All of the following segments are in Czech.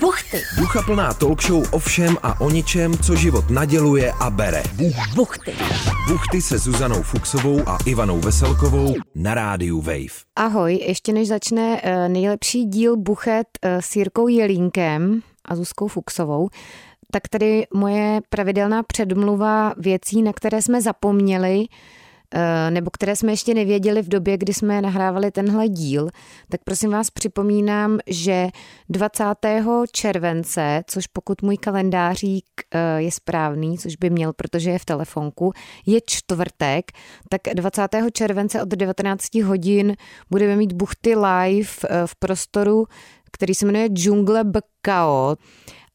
Buchty. Ducha plná talk show o všem a o ničem, co život naděluje a bere. Buchty. Buchty se Zuzanou Fuxovou a Ivanou Veselkovou na rádiu Wave. Ahoj, ještě než začne eh, nejlepší díl Buchet eh, s Jirkou Jelínkem a Zuzkou Fuxovou, tak tady moje pravidelná předmluva věcí, na které jsme zapomněli, eh, nebo které jsme ještě nevěděli v době, kdy jsme nahrávali tenhle díl, tak prosím vás připomínám, že 20. července, což pokud můj kalendářík eh, je správný, což by měl, protože je v telefonku, je čtvrtek, tak 20. července od 19 hodin budeme mít buchty live eh, v prostoru, který se jmenuje Džungle Bkao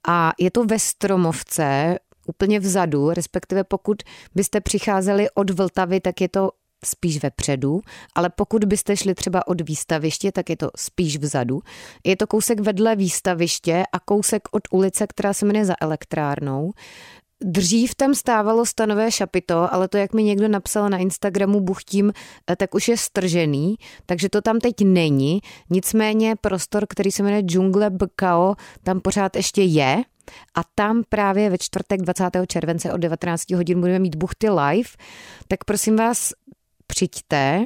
a je to ve Stromovce, úplně vzadu, respektive pokud byste přicházeli od Vltavy, tak je to spíš vepředu, ale pokud byste šli třeba od výstaviště, tak je to spíš vzadu. Je to kousek vedle výstaviště a kousek od ulice, která se jmenuje za elektrárnou. Dřív tam stávalo stanové šapito, ale to, jak mi někdo napsal na Instagramu buchtím, eh, tak už je stržený, takže to tam teď není. Nicméně prostor, který se jmenuje Džungle Bkao, tam pořád ještě je. A tam právě ve čtvrtek 20. července od 19 hodin budeme mít buchty live. Tak prosím vás, přijďte,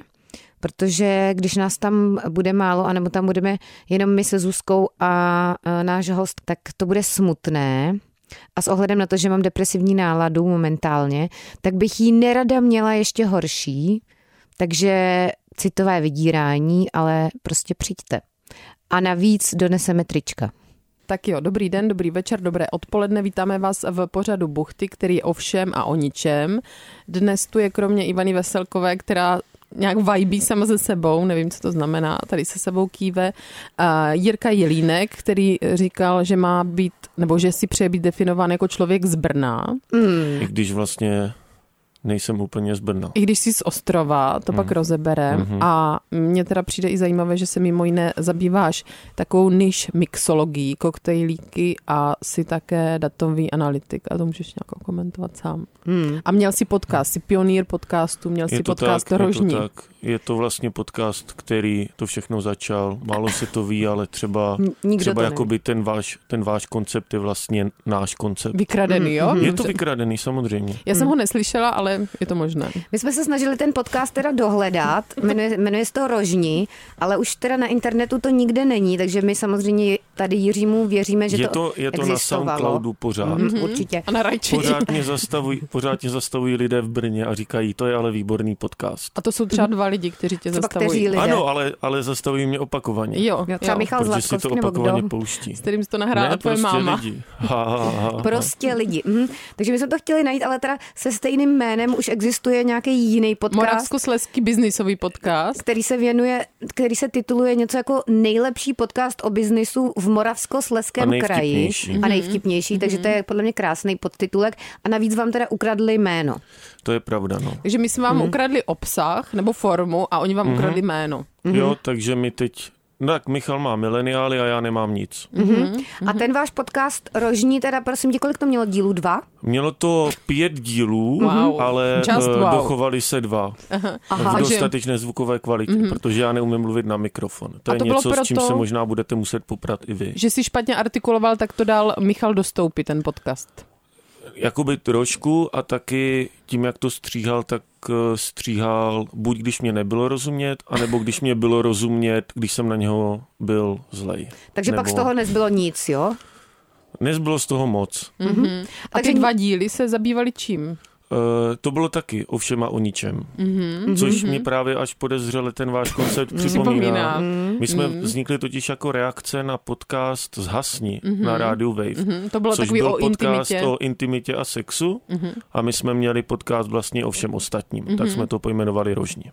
protože když nás tam bude málo, anebo tam budeme jenom my se Zuzkou a e, náš host, tak to bude smutné. A s ohledem na to, že mám depresivní náladu momentálně, tak bych ji nerada měla ještě horší. Takže citové vydírání, ale prostě přijďte. A navíc doneseme trička. Tak jo, dobrý den, dobrý večer, dobré odpoledne. Vítáme vás v pořadu Buchty, který je o všem a o ničem. Dnes tu je kromě Ivany Veselkové, která nějak vibí sama se sebou, nevím, co to znamená, tady se sebou kýve. A Jirka Jelínek, který říkal, že má být, nebo že si přeje být definován jako člověk z Brna, I když vlastně nejsem úplně z Brna. i když jsi z Ostrova, to pak rozeberem. Mhm. A mně teda přijde i zajímavé, že se mimo jiné zabýváš takovou niž mixologií, koktejlíky a si také datový analytik. A to můžeš nějak komentovat sám. Hmm. A měl si podcast, jsi pionýr podcastu, měl Je si to, podcast tak, je to Rožní. tak, je to vlastně podcast, který to všechno začal, málo se to ví, ale třeba, N- Nikdo třeba jako- to neví. jakoby ten váš, ten váš koncept je vlastně náš koncept. Vykradený, jo? Mhm, Je to Mhm. vykradený samozřejmě. Já jsem ho neslyšela, ale je to možné. My jsme se snažili ten podcast teda dohledat, jmenuje, jmenuje se to Rožní, ale už teda na internetu to nikde není, takže my samozřejmě tady Jiřímu věříme, že Je to to, je to na existovalo. SoundCloudu pořád. Mhm, Určitě. A na rajči. Pořád mě, zastavují, pořád mě zastavují lidé v Brně a říkají, to je ale výborný podcast. A to jsou třeba dva lidi, kteří tě Mhm. Třeba zastavují. kteří lidé. Ano, ale, ale zastavují mě opakovaně. Jo, Jo, třeba jo. Michal protože si to Zlatkovský nebo opakovaně kdo? pouští. S kterým jsi to nahrála ne, tvoje prostě máma. Lidi. Ha, ha, ha, ha. Prostě lidi. Mhm. Takže my jsme to chtěli najít, ale teda se stejným jménem už existuje nějaký jiný podcast. Moravskosleský biznisový podcast. který se věnuje, který se tituluje něco jako nejlepší podcast o biznisu v A Moravskosleském kraji nejvtipnější. Mhm. a nejvtipnější, takže to je podle mě krásný podtitulek a navíc vám teda ukradli jméno. To je pravda, no. Takže my jsme vám ukradli obsah nebo formu a oni Mhm. vám ukradli jméno. Jo, takže my teď... No tak Michal má mileniály a já nemám nic. Mhm. Mm-hmm. A Mhm. ten váš podcast Rožní, teda prosím tě, kolik to mělo dílů? Dva? Mělo to pět dílů, Wow. ale Just eh, wow. dochovali se dva. Aha, v takže- Mhm. dostatečné zvukové kvalitě, protože já neumím mluvit na mikrofon. To A je to bylo něco, s čím proto- se možná budete muset poprat i vy. Že jsi špatně artikuloval, tak to dal Michal Dostoupy, ten podcast. Jakoby trošku a taky tím, jak to stříhal, tak eh, stříhal buď když mě nebylo rozumět, anebo když mě bylo rozumět, když jsem na něho byl zlej. Takže nebo... pak z toho nezbylo nic, jo? Nezbylo z toho moc. A Takže... ty dva díly se zabývaly čím? Eh, to bylo taky o všem a o ničem. Mhm. Mm-hmm. Mhm. Což mi právě až podezřele ten váš koncept Připomíná. Mhm. připomíná. Mhm. My jsme vznikli totiž jako reakce na podcast Zhasni mm-hmm. na rádiu Wave. Mm-hmm. Hm, To Mhm. bylo Což takový byl o podcast intimitě. Mhm. o intimitě a sexu mm-hmm. a my jsme měli podcast vlastně o všem ostatním. Mm-hmm. Tak jsme to pojmenovali rožně.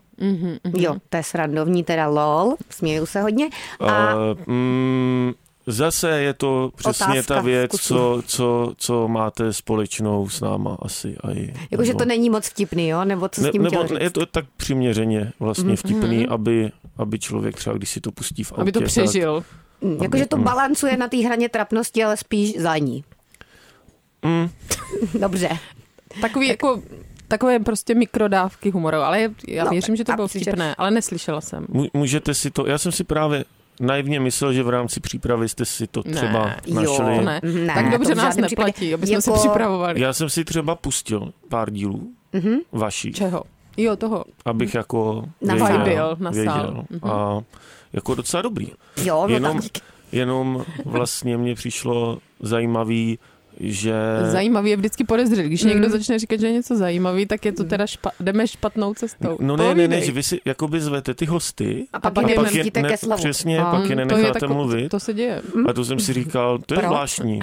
Jo, to je srandovní, teda lol, směju se hodně. A Eh, mm, zase je to přesně Otázka ta věc, vkusu. co, co, co máte společnou s náma asi. A i, jakože nebo- to není moc vtipný, jo? Nebo co s tím nebo chtěl říct? je to tak přiměřeně vlastně vtipný, aby, aby člověk třeba, když si to pustí v autě, Mm-hmm. Aby to přežil. Mm, Jakože Mhm. to balancuje na té hraně trapnosti, ale spíš za ní. Mm. Dobře. Takový jako takové prostě mikrodávky humoru, ale je- já No, věřím, že to a bylo určitě. vtipné, ale neslyšela jsem. Tak mu- můžete si to, já jsem si právě naivně myslel, že v rámci přípravy jste si to Ne, třeba jo, našli. To ne. Mhm, Ne, tak to dobře v nás žádném neplatí, případě. aby jsme se Jako- připravovali. Já jsem si třeba pustil pár dílů Mhm. vašich, Čeho? Jo, toho. abych jako Na věděl, vibe byl, na věděl. sál. Mhm. A jako docela dobrý. Jo, no Jenom- tak díky. Jenom vlastně mně přišlo zajímavý, že... Zajímavý je vždycky podezřelý. Když Mm. někdo začne říkat, že je něco zajímavý, tak je to teda špa- jdeme špatnou cestou. Mm. No ne, ne, ne, Povídej. že vy si jakoby zvete ty hosty A pak, A a a Jdeme, pak pak je, je, ke slavu. přesně, No. pak je To je nenecháte tako- mluvit. To se děje. A to jsem si říkal, to je Hm? Proč? zvláštní.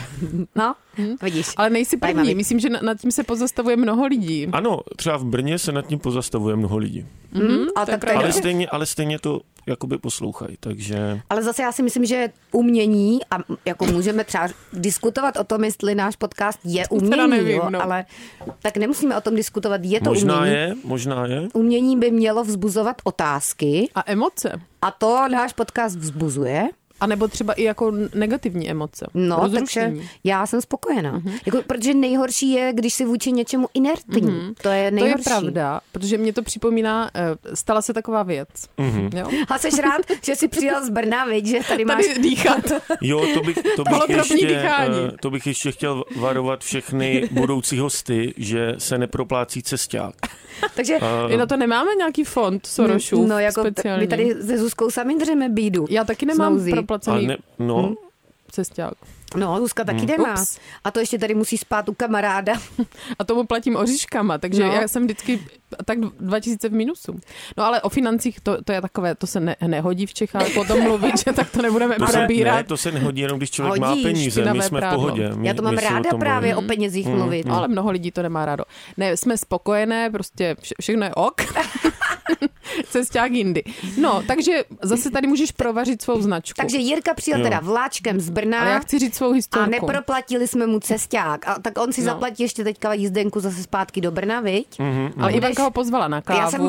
No, Hm? vidíš. Ale nejsi první, Zajímavý. myslím, že na- nad tím se pozastavuje mnoho lidí. Ano, třeba v Brně se nad tím pozastavuje mnoho lidí. Mhm, ale to je tak to je pravda. Ale dobře. stejně, ale stejně to jakoby poslouchají, takže... Ale zase já si myslím, že umění, a m- jako můžeme třeba diskutovat o tom, jestli náš podcast je teda umění, nevím, jo, no. ale tak nemusíme o tom diskutovat, je to možná umění. je, možná je. Umění by mělo vzbuzovat otázky A emoce. a to náš podcast vzbuzuje. A nebo třeba i jako negativní emoce. No, takže Rozrušení. Mhm. já jsem spokojená. Jako, protože nejhorší je, když si vůči něčemu inertní. To je Mhm. To je nejhorší. pravda, protože mě to připomíná, eh, stala se taková věc. Mhm. Mm-hmm. Jo? A jsi rád, že jsi přijel z Brna, viď, že tady máš... Tady dýchat. Jo, to bych, to bych, Holotropní ještě, dýchání. eh, to bych ještě chtěl varovat všechny budoucí hosty, že se neproplácí cesták. Takže I na to nemáme nějaký fond Sorošův no, jako speciální. my tady se Zuzkou sami dřeme bídu. Já taky nemám Snouzí. Ale proplacený ne, Hm? no, cesták. No, Zuzka taky nemá. Hmm. Ups. A to ještě tady musí spát u kamaráda. A tomu platím oříškama, takže No. no. já jsem vždycky tak 2000 v minusu. No ale o financích, to, to je takové, to se ne, nehodí v Čechách, potom mluvit, že tak to nebudeme to se, ne, probírat. to se nehodí, jenom když člověk má Hodíš peníze, my špinavé jsme v prádlo. pohodě. My, Já to mám my si o ráda tom právě o mluvíme. penězích mluvit. No, ale mnoho lidí to nemá rádo. Ne, jsme spokojené, prostě vše, všechno je ok. Cesták jindy. No, takže zase tady můžeš provařit svou značku. Takže Jirka přijel Jo. teda vláčkem z Ale já Brna chci říct svou a historku. neproplatili jsme mu cesták. A tak on si No. Mhm, zaplatí ještě teďka jízdenku zase zpátky do Brna, viď? No. Ale Ivanka ho pozvala na Já kávu. jsem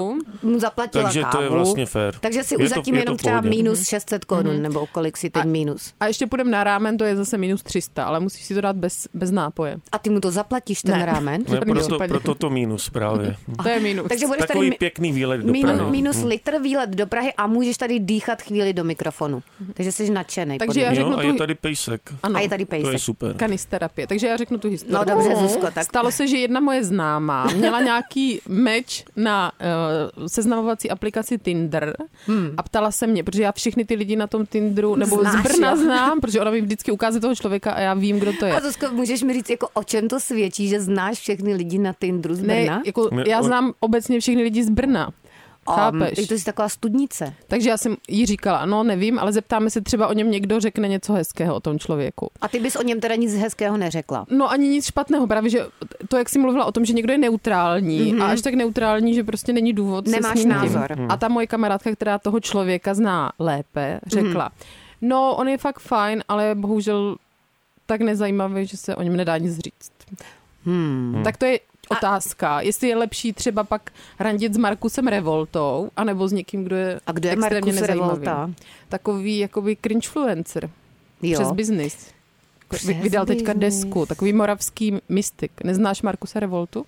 mu zaplatila Takže kávu. to je vlastně fér. Takže si Je to- uzatím je to jenom v třeba pohodě. minus 600 korun, nebo kolik si teď minus. Mhm. A ještě půjdeme na rámen, to je zase minus 300, ale musíš si to dát bez, bez nápoje. A ty mu to zaplatíš, ten Ne. rámen? Ne, žádném proto, případě. proto to mínus právě. To je minus. Takže budeš tady Takový mi- pěkný výlet do Min, Prahy. Mhm. minus litr výlet do Prahy a můžeš tady dýchat chvíli do mikrofonu. Takže jsi nadšený. Mhm. Takže podle já mě. řeknu jo, a tu- je tady pejsek. ano, a je tady To je pejsek. super. kanisterapie. Takže já řeknu tu historii. No dobře, Zuzko, tak- Stalo se, že jedna moje známá měla nějaký meč na uh, seznamovací aplikaci Tinder a ptala se mě, protože já všechny ty lidi na tom Tinderu, nebo Hmm. Znáš, z Brna jo? znám, protože ona mi vždycky ukáže toho člověka a já vím, kdo to je. A Zuzko, můžeš mi říct, jako o čem to svědčí, že znáš všechny lidi na Tinderu z Brna? Ne, jako, Ne, já on- znám obecně všechny lidi z Brna. Um, Chápeš? takže to jsi taková studnice. Takže já jsem jí říkala, no nevím, ale zeptáme se třeba o něm někdo řekne něco hezkého o tom člověku. A ty bys o něm teda nic hezkého neřekla. No ani nic špatného, právě že to, jak jsi mluvila o tom, že někdo je neutrální mm-hmm. a až tak neutrální, že prostě není důvod Mhm. Nemáš se s ním názor. Tím. A ta moje kamarádka, která toho člověka zná lépe, řekla, Hmm. mm-hmm. no on je fakt fajn, ale bohužel tak nezajímavý, že se o něm nedá nic říct. Hmm. Tak to je otázka, jestli je lepší třeba pak randit s Markusem Revoltou, anebo s někým, kdo je A kdo je extrémně Markus nezajímavý. Revolta? Takový jakoby cringefluencer Jo. přes biznis. Přes Vy- Vydal teďka biznis. desku, takový moravský mystik. Neznáš Markusa Revoltu?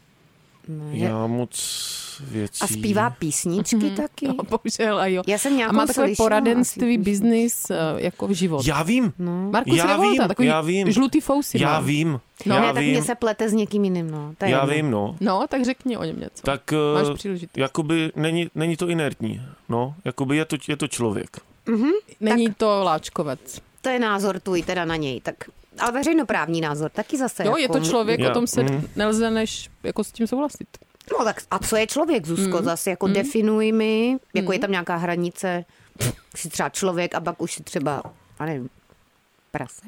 No, je- Já moc věcí... A zpívá písničky taky? No, bohužel a jo. Já jsem A nějakou má takové slyšela No. poradenství, asi. biznis, eh, jako v život. Já vím, No. Markus Já Revolta, vím, takový já vím. žlutý fousy. já má. vím, No, já ne, tak vím, mě se plete s někým jiným, no. To je já jedno. vím, no. No, tak řekni o něm něco. Tak Máš eh, příležitost. jakoby není, není to inertní, no. Jakoby je to, je to člověk. Není to láčkovec. To je názor tvůj teda na něj, tak... Ale veřejnoprávní názor, taky zase. Jo, je jako- to člověk, Já- o tom se mhm. nelze než jako s tím souhlasit. No tak a co je člověk, Zuzko? Hmm. Mm. Zase jako mm. definuj mi, jako mm. je tam nějaká hranice, už jsi třeba člověk a pak už jsi třeba, a nevím, prase.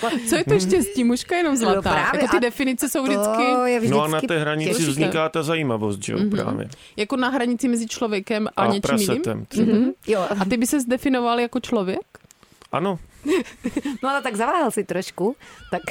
Co Mm. je to ještě s tím? Mužka jenom No zlatá. právě, jako ty a definice jsou vždycky... To je vždycky Mhm. No a na té hranici těžké. vzniká ta zajímavost, že jo, právě. Jako na hranici mezi člověkem a, A něčím jiným. prasetem Mhm. třeba. Jo, A ty by se zdefinoval jako člověk? Ano, no ale tak zaváhal si trošku, tak...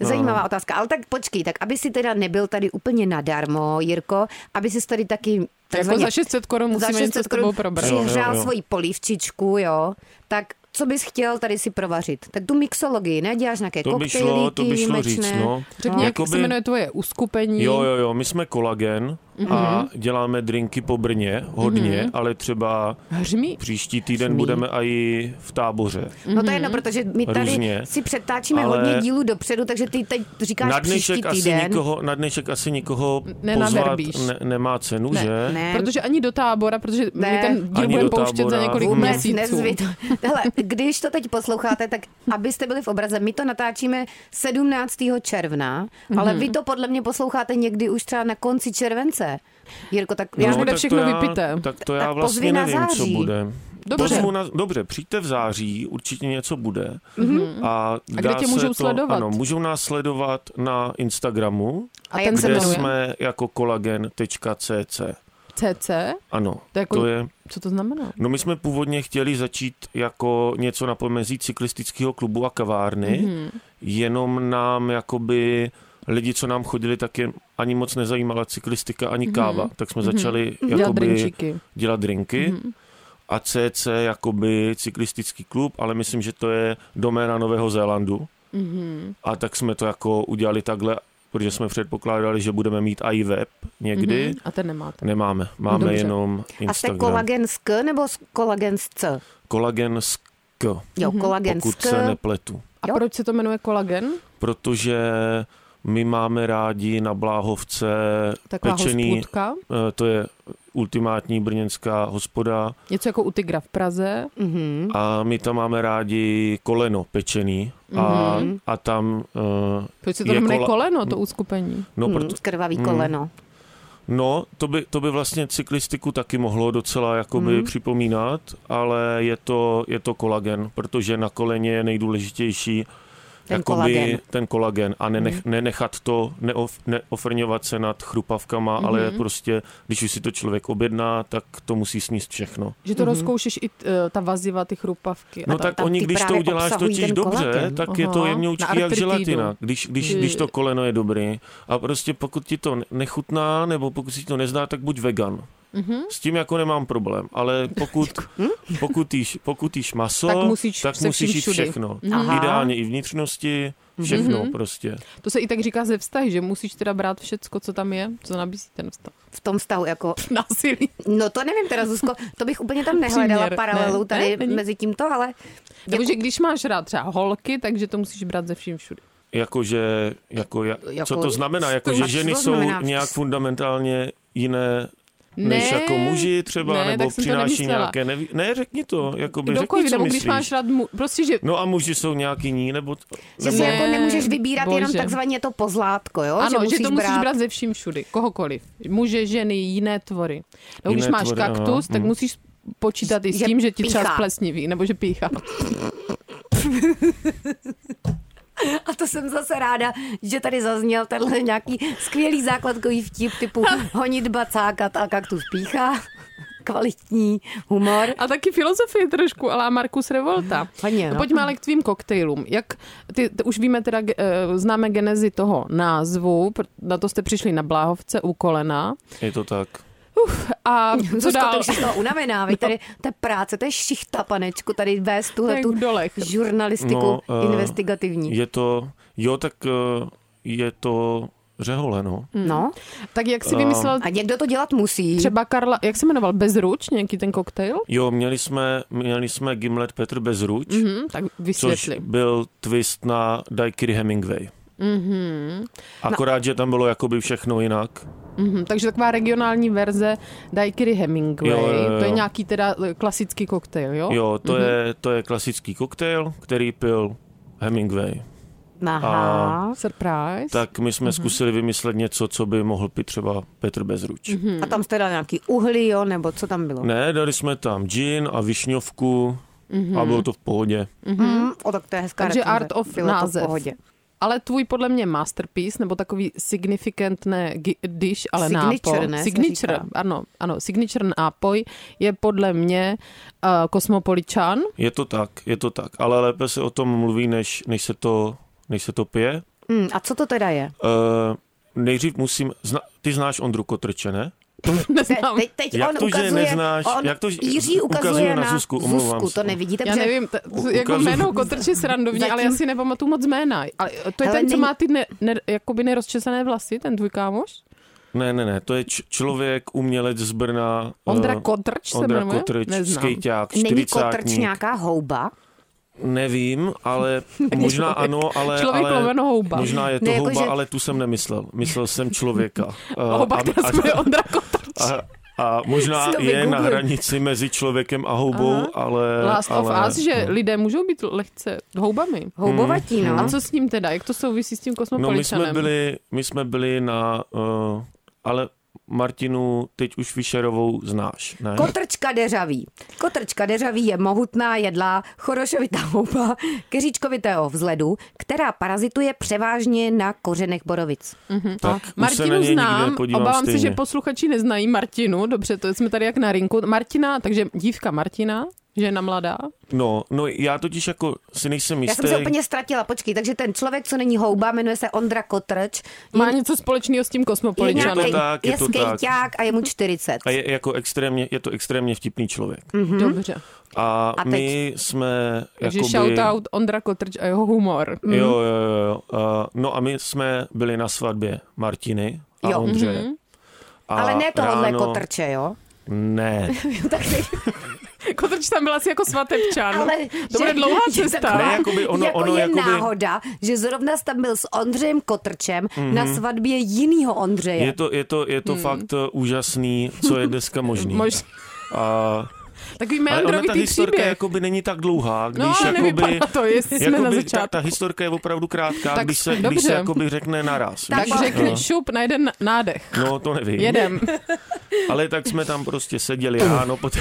No. Zajímavá otázka, ale tak počkej, tak aby si teda nebyl tady úplně nadarmo, Jirko, aby si tady taky Jako takzvaně za 600 korun za musíme něco s 600 tebou korun probrat. Jo, přihřál jo, jo. svoji polívčičku, jo, tak co bys chtěl tady si provařit? Tak tu mixologii, ne? Děláš nějaké to by koktejly, šlo, to ty by šlo výjimečné. říct, no. Řekni, jak Jakoby- se jmenuje tvoje uskupení. Jo, jo, jo, my jsme kolagen a Mhm. děláme drinky po Brně hodně, ale třeba Hřmí. příští týden Smí. budeme i v táboře. No to je Mhm. jedno, protože my tady Různě, si přetáčíme ale- hodně dílů dopředu, takže ty teď říkáš Na příští dnešek, asi týden. nikoho, na dnešek asi nikoho pozvat Nenaverbíš. ne, nemá cenu, Ne, že? Ne, Protože ani do tábora, protože my Ne. ten díl Ani budeme do pouštět za tábora. několik Vůbec vůbec měsíců. nezvyt. Hele, když to teď posloucháte, tak abyste byli v obraze, my to natáčíme 17. června, ale Mhm. vy to podle mě posloucháte někdy už třeba na konci července. Jirko, tak já Už bude No, tak to všechno já- vypité. Tak to Tak já pozvi vlastně na nevím, co září. bude. Dobře. Pozvu Na, dobře, přijďte v září, určitě něco bude. Mhm. Mhm. Mm-hmm. A, kde dá tě se můžou to, sledovat? Ano, můžou nás sledovat na Instagramu, A A ten jak se kde jmenuje jsme jako kolagen.cc. CC. Ano, To je jako- to je... Co to znamená? No my jsme původně chtěli začít jako něco na pomezí cyklistického klubu a kavárny, mm-hmm. Mhm. jenom nám jakoby lidi, co nám chodili, tak je ani moc nezajímala cyklistika, ani káva. Mm-hmm. Tak jsme začali mm-hmm. Mhm. Dělat Mhm. jakoby drinčíky. dělat drinky. Mm-hmm. A CC jakoby cyklistický klub, ale myslím, že to je doména Nového Zélandu. Mhm. Mm-hmm. A tak jsme to jako udělali takhle, protože jsme předpokládali, že budeme mít i web někdy. Mm-hmm. A ten nemáte. Nemáme, máme Mhm. Dobře. jenom A jste Instagram. kolagen z K nebo z kolagen z C? Kolagen z K, Jo, Mhm. kolagen z pokud K. se nepletu. A Jo. proč se to jmenuje kolagen? Protože my máme rádi na Bláhovce Taková pečený, hospůdka. eh, to je ultimátní brněnská hospoda Něco jako u Tigra v Praze. Mhm. a my tam máme rádi koleno pečený a, mm-hmm. a tam, eh, Proč se to Je jmenuje kola- koleno, to uskupení? no, Mhm, proto, Krvavý Mhm. koleno. no to, by, to by vlastně cyklistiku taky mohlo docela jakoby Hmm. mm-hmm. připomínat, ale je to, je to kolagen, protože na koleně je nejdůležitější Ten jakoby kolagen. ten kolagen a nenech, hmm. nenechat to, neof, neofrňovat se nad chrupavkama, hmm. ale prostě, když už si to člověk objedná, tak to musí sníst všechno. Že Mhm. to rozkoušíš i eh, ta vaziva, ty chrupavky. a No ta- tak tam oni, ty když to právě uděláš obsahují totiž ten dobře, kolagen. tak je Aha. to jemňoučký Na jak artritidu. želatina, když, když, Ty- když to koleno je dobrý. A prostě pokud ti to nechutná, nebo pokud si to nezná, tak buď vegan. Mhm. Mm-hmm. S tím jako nemám problém, ale pokud, pokud, jíš, pokud jíš maso, Jako, hm? Tak musíš tak se musíš vším jít všudy. Mhm. všechno. Aha. Ideálně i vnitřnosti, všechno prostě. To se i tak říká ze vztahy, že musíš teda brát všecko, co tam je, co nabízí ten vztah. V tom vztahu jako Násilí. No to nevím teda, Zuzko, to bych úplně tam nehledala Příměr, Příměr, ne, paralelu ne, ne, tady není. ne, mezi tímto, ale jako, Nebo že když máš rád třeba holky, takže to musíš brát ze vším všude. Jakože, jako, jak, Jako- co to znamená? Jako, Co že to ženy jsou znamená? nějak fundamentálně jiné Ne, než jako muži třeba, ne, tak nebo jsem to přináší nemyslela. nějaké, neví, ne, řekni to, jako by Kdokoliv, řekni, co nebo myslíš. když máš rád mu, prostě, že No a muži jsou nějak jiní, nebo... t- že nebo si jako nemůžeš vybírat bože. Bože. jenom takzvaně to pozlátko, jo? ano, že, musíš to musíš brát... brát ze vším všudy, kohokoliv. Muže, ženy, jiné tvory. Nebo když Jiné máš tvory, kaktus, aha, tak mm. musíš počítat i s Že tím, že ti píchá. třeba splesniví, nebo že píchá. A to jsem zase ráda, že tady zazněl tenhle nějaký skvělý základkový vtip typu honitba, cákat a kaktus píchá. Kvalitní humor. A taky filozofie trošku, ale Markus Revolta. Hodně, No. no. Pojďme ale k tvým koktejlům. Jak, ty, ty, už víme teda, eh, známe genezi toho názvu, pr- na to jste přišli na Bláhovce u kolena. Je to tak. A co Zuzko, ty dál? už jsi z toho unavená, no. tady, to je práce, to je šichta, panečku, tady vést tuhle Jak tu v dolech. žurnalistiku No, no, eh, uh, investigativní. Je to... Jo, tak eh, je to řehole, no. No, Tak jak si vymyslel a někdo to dělat musí. třeba Karla, jak se jmenoval, Bezruč, nějaký ten koktejl? Jo, měli jsme, měli jsme Gimlet Petr Bezruč, mm-hmm. Hm, tak což vysvětli. byl twist na Daiquiri Hemingway. Mm-hmm. Akorát, že tam bylo jakoby všechno jinak. Mhm, takže taková regionální verze Daiquiri Hemingway. Jo, jo, jo. To je nějaký teda eh, klasický koktejl, jo? Jo, to, mm-hmm. je, to je klasický koktejl, který pil Hemingway. Aha. Surprise. Tak my jsme mm-hmm. zkusili vymyslet něco, co by mohl pít třeba Petr Bezruč. Mm-hmm. Hmm. A tam jste dali nějaký uhlí, jo, nebo co tam bylo? Ne, dali jsme tam gin a višňovku mm-hmm. a bylo to v pohodě. Mm, o, tak to je hezká Mhm. Takže recenze. Art of bylo To název. v pohodě. Ale tvůj podle mě masterpiece, nebo takový significant ne gi- dish, ale Signature, nápoj. ne, se signature, říká. ano, ano, signature nápoj je podle mě uh, Kosmopoličan. Je to tak, je to tak. Ale lépe se o tom mluví, než, než, se, to, než se to pije. Mm, a co to teda je? Uh, nejdřív musím... Zna, ty znáš Ondru Kotrče, ne? Te, Neznám. teď, teď Jak on to, že ukazuje, neznáš? on Jak to, že- Jiří ukazuje, ukazuje na na Zuzku, omlouvám Zuzku, se. to nevidíte, Já protože nevím, t- U- jako ukazu- jméno kotrče srandovně, ale já Zatím- si nepamatuju moc jména. Ale to je Hele, ten, co není- Eh, má ty ne, ne, jakoby nerozčesané vlasy, ten tvůj kámoš? Ne, ne, ne, to je č- člověk, umělec z Brna. Ondra eh, Kotrč se Ondra jmenuje? Kotrč, Neznám. skejťák, Není kotrč čtyřicátník. Hmm. nějaká houba? Nevím, ale možná ano, ale... Člověk ale... lomeno houba. Možná je to Ne, jako houba, že- ale tu jsem nemyslel. Myslel jsem člověka. Eh, Houba, a- která a- se jmenuje Ondra Kotrč. a, a možná Si to je na vygooglím. hranici mezi člověkem a houbou, Aha. ale... Last eh, ale, no. of Us, že lidé můžou být lehce houbami. Houbovatí, no. Hmm. A co s ním teda? Jak to souvisí s tím No my jsme kosmopolitanem? byli, my jsme byli na... Uh, ale Martinu teď už Fischerovou znáš, ne? Kotrčka deřaví. Kotrčka deřaví je mohutná, jedlá, chorošovitá houba, keříčkovitého vzhledu, která parazituje převážně na kořenech borovic. tak už se Martinu na něj nikdy znám, nepodívám obávám se, stejně. že posluchači neznají Martinu. Dobře, to jsme tady jak na rinku. Martina, takže dívka Martina, žena mladá. No, no já totiž jako si nejsem Já jistý. jsem se úplně ztratila, počkej, takže ten člověk, co není houba, jmenuje se Ondra Kotrč, Má něco společného s tím je, kosmopolitanem. nějaký, to tak, Mm. je je to tak. skejťák a je mu 40. A je, jako extrémně, je to extrémně vtipný člověk. Dobře. A, A teď? my jsme Mm. Takže jakoby... Mm. shoutout Mm. Ondra Kotrč a jeho humor. Jo, jo, jo. jo. Uh, no a my jsme byli na svatbě Martiny a Jo. Ondřeje. A Ale ne jako tohohle ráno... kotrče, jo? Ne, tak ty, Kotrč tam byl asi jako svatebčan. ale, to bude dlouhá cesta. Ne, jakoby ono- jako ono je jakoby- náhoda, že zrovna jsi tam byl s Ondřejem Kotrčem mm-hmm. na svatbě jinýho Ondřeje. Mhm. je to, je to, je to hmm. fakt eh, úžasný, co je dneska možný. Mož... A, Takový ale ona ta meandrovitý historka příběh. jakoby není tak dlouhá, když No, ale jakoby, nevypadá to, jestli jsme na jakoby ta, začátku. ta historka je opravdu krátká, Tak tak, když se, dobře. když se jakoby řekne naraz. Tak víš? Tak řekni, No. šup na jeden nádech. No, to nevím. Jedem. Ale tak jsme tam prostě seděli ráno, poté,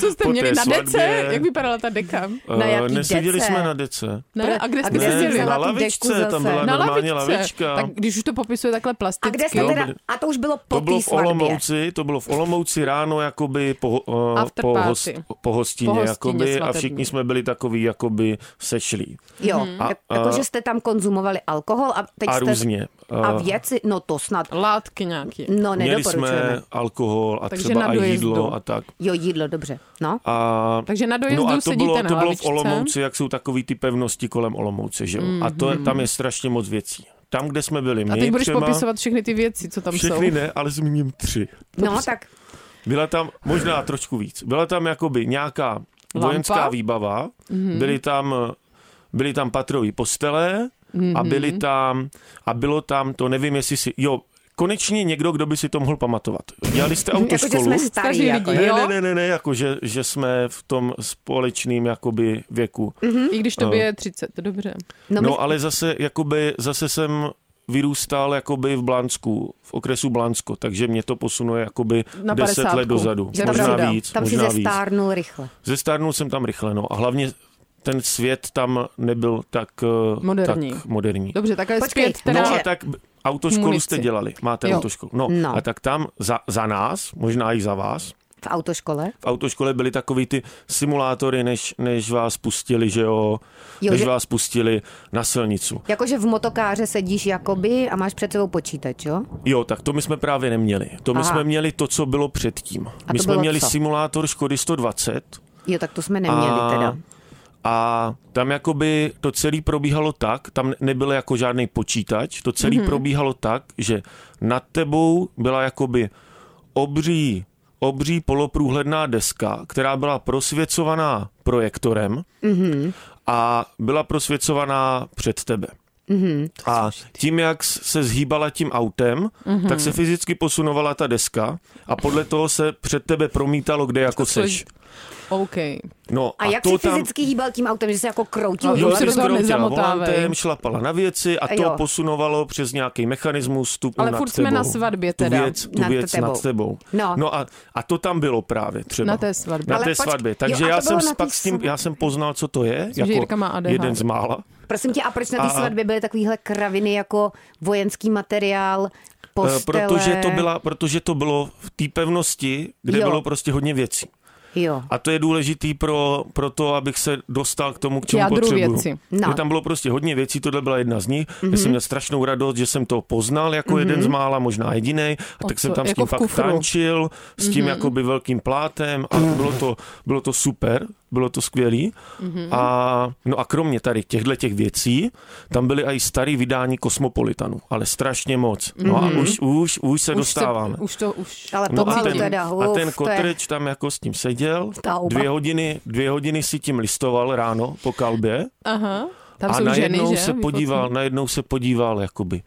Co jste Po měli té na dece? svatbě- Jak vypadala ta deka? Na eh, jaký neseděli dece? jsme na dece. Ne, a kde a jste kde jsi ne, seděli? vzala na tu deku lavičce, tam zase? byla Na normálně lavičce. lavička. Tak když už to popisuje takhle a plasticky. kde jste Jo, teda, byli- a to už bylo po To bylo té v svatbě. Olomouci, to bylo v Olomouci ráno jakoby po, uh, After po, party. host, po hostině, Po hostině jakoby, a svatební. všichni jsme byli takový jakoby sešlí. Jo, Mhm. mm-hmm. A- jakože a- jste tam konzumovali alkohol a teď A jste... různě. A Eh, věci, no to snad, Látky nějaký. no Měli nedoporučujeme. jsme alkohol a Takže třeba na a dojezdu. jídlo a tak. Jo, jídlo, dobře. No, A, Takže na dojezdu no a to sedíte na bylo, to bylo v lavičce. Olomouci, jak jsou takový ty pevnosti kolem Olomouce, že jo? A to je, tam je strašně moc věcí. Tam, kde jsme byli my Mhm. A teď budeš třema, popisovat všechny ty věci, co tam jsou. všechny ne, ale zmíním tři. no tak Byla tam možná trošku víc. Byla tam jakoby nějaká vojenská výbava, Mhm. mm-hmm. byly tam byly tam patrové postele mm-hmm. Mhm. a byly tam a bylo tam, to nevím, jestli si jo, konečně někdo, kdo by si to mohl pamatovat. Dělali jste jako, že autoškolu? jsme starý. Staří Jako, lidi. Ne, jo? ne, ne, ne, ne, jako že, že jsme v tom společným jakoby věku. I když tobě je 30, dobře. no, my, No ale zase, jakoby, zase jsem vyrůstal jakoby v Blansku, v okresu Blansko, takže mě to posunuje jakoby Na 10 let padesátku. dozadu. Je to možná pravda. víc, tam si možná víc. zestárnul rychle. Zestárnul jsem tam rychle, no. A hlavně ten svět tam nebyl tak eh, Moderní. Tak moderní. Dobře, takhle Počkej, zpět no teda... No a že- tak b- autoškolu Munici. jste dělali. Máte Jo. autoškolu. No, No. no. A tak tam za, za nás, možná i za vás, V autoškole? v autoškole byly takový ty simulátory, než, než vás pustili, že jo, Jo, než že- vás pustili na silnicu. Jakože Jako, v motokáře sedíš jakoby a máš před sebou počítač, jo? Jo, tak to my jsme právě neměli. To my Aha. Aha. jsme měli to, co bylo předtím. to my jsme bylo měli co? simulátor Škody 120, Jo, tak to jsme neměli A- teda. A tam jakoby to celé probíhalo tak, tam ne- nebyl jako žádný počítač, to Mhm. celé mm-hmm. probíhalo tak, že nad tebou byla jakoby obří, obří poloprůhledná deska, která byla prosvěcovaná projektorem mm-hmm. Mhm. a byla prosvěcovaná před tebe. Mhm. Mm-hmm. A tím, jak s- se zhýbala tím autem, Mhm. mm-hmm. tak se fyzicky posunovala ta deska a podle toho se před tebe promítalo, kde jako To jsou- seš. OK. No, A, jak to si tam... fyzicky hýbal tím autem, že se jako kroutil? No, Jo, Už se se do toho zkroutila nezamotávej. volantem, šlapala na věci a to Jo. jo. posunovalo přes nějaký mechanismus tu Ale nad furt tebou. jsme na svatbě tu teda. věc, tu Nad věc tebou. nad tebou. No. no a, a to tam bylo právě třeba. Na té svatbě. Na Ale té počkej, svatbě. jo, Takže a to já bylo jsem na té pak s tím, svatbě. já jsem poznal, co to je. jako Myslím, že Jirka má ADHD. jeden z mála. Prosím tě, a proč na té A- svatbě byly takovýhle kraviny jako vojenský materiál, Eh, postele? Protože to, byla, protože to bylo v té pevnosti, kde Jo. jo. bylo prostě hodně věcí. Jo. A to je důležitý pro, pro to, abych se dostal k tomu, k čemu jádru potřebuju. věci. Mhm. No. No. Tam bylo prostě hodně věcí, tohle byla jedna z nich. Mm-hmm. Já jsem měl strašnou radost, že jsem to poznal jako mm-hmm. jeden z mála, možná jediný. O A tak co, jsem tam s jako tím v fakt kufru. Mhm. tančil, s tím mm-hmm. jakoby velkým plátem a bylo to, bylo to super. bylo to skvělý. Mhm. A, no a kromě tady těchto těch věcí, tam byly i starý vydání Kosmopolitanu, ale strašně moc. No a Mhm. už, už, už se už už dostáváme. Se, už to, už. Ale No a pomalu ten, teda, huf, a ten to je kotreč tam jako s tím seděl, ta oba. dvě hodiny, dvě hodiny si tím listoval ráno po kalbě Aha. Tam a jsou ženy, najednou že? Jako se Vyfotí. podíval, najednou se podíval jakoby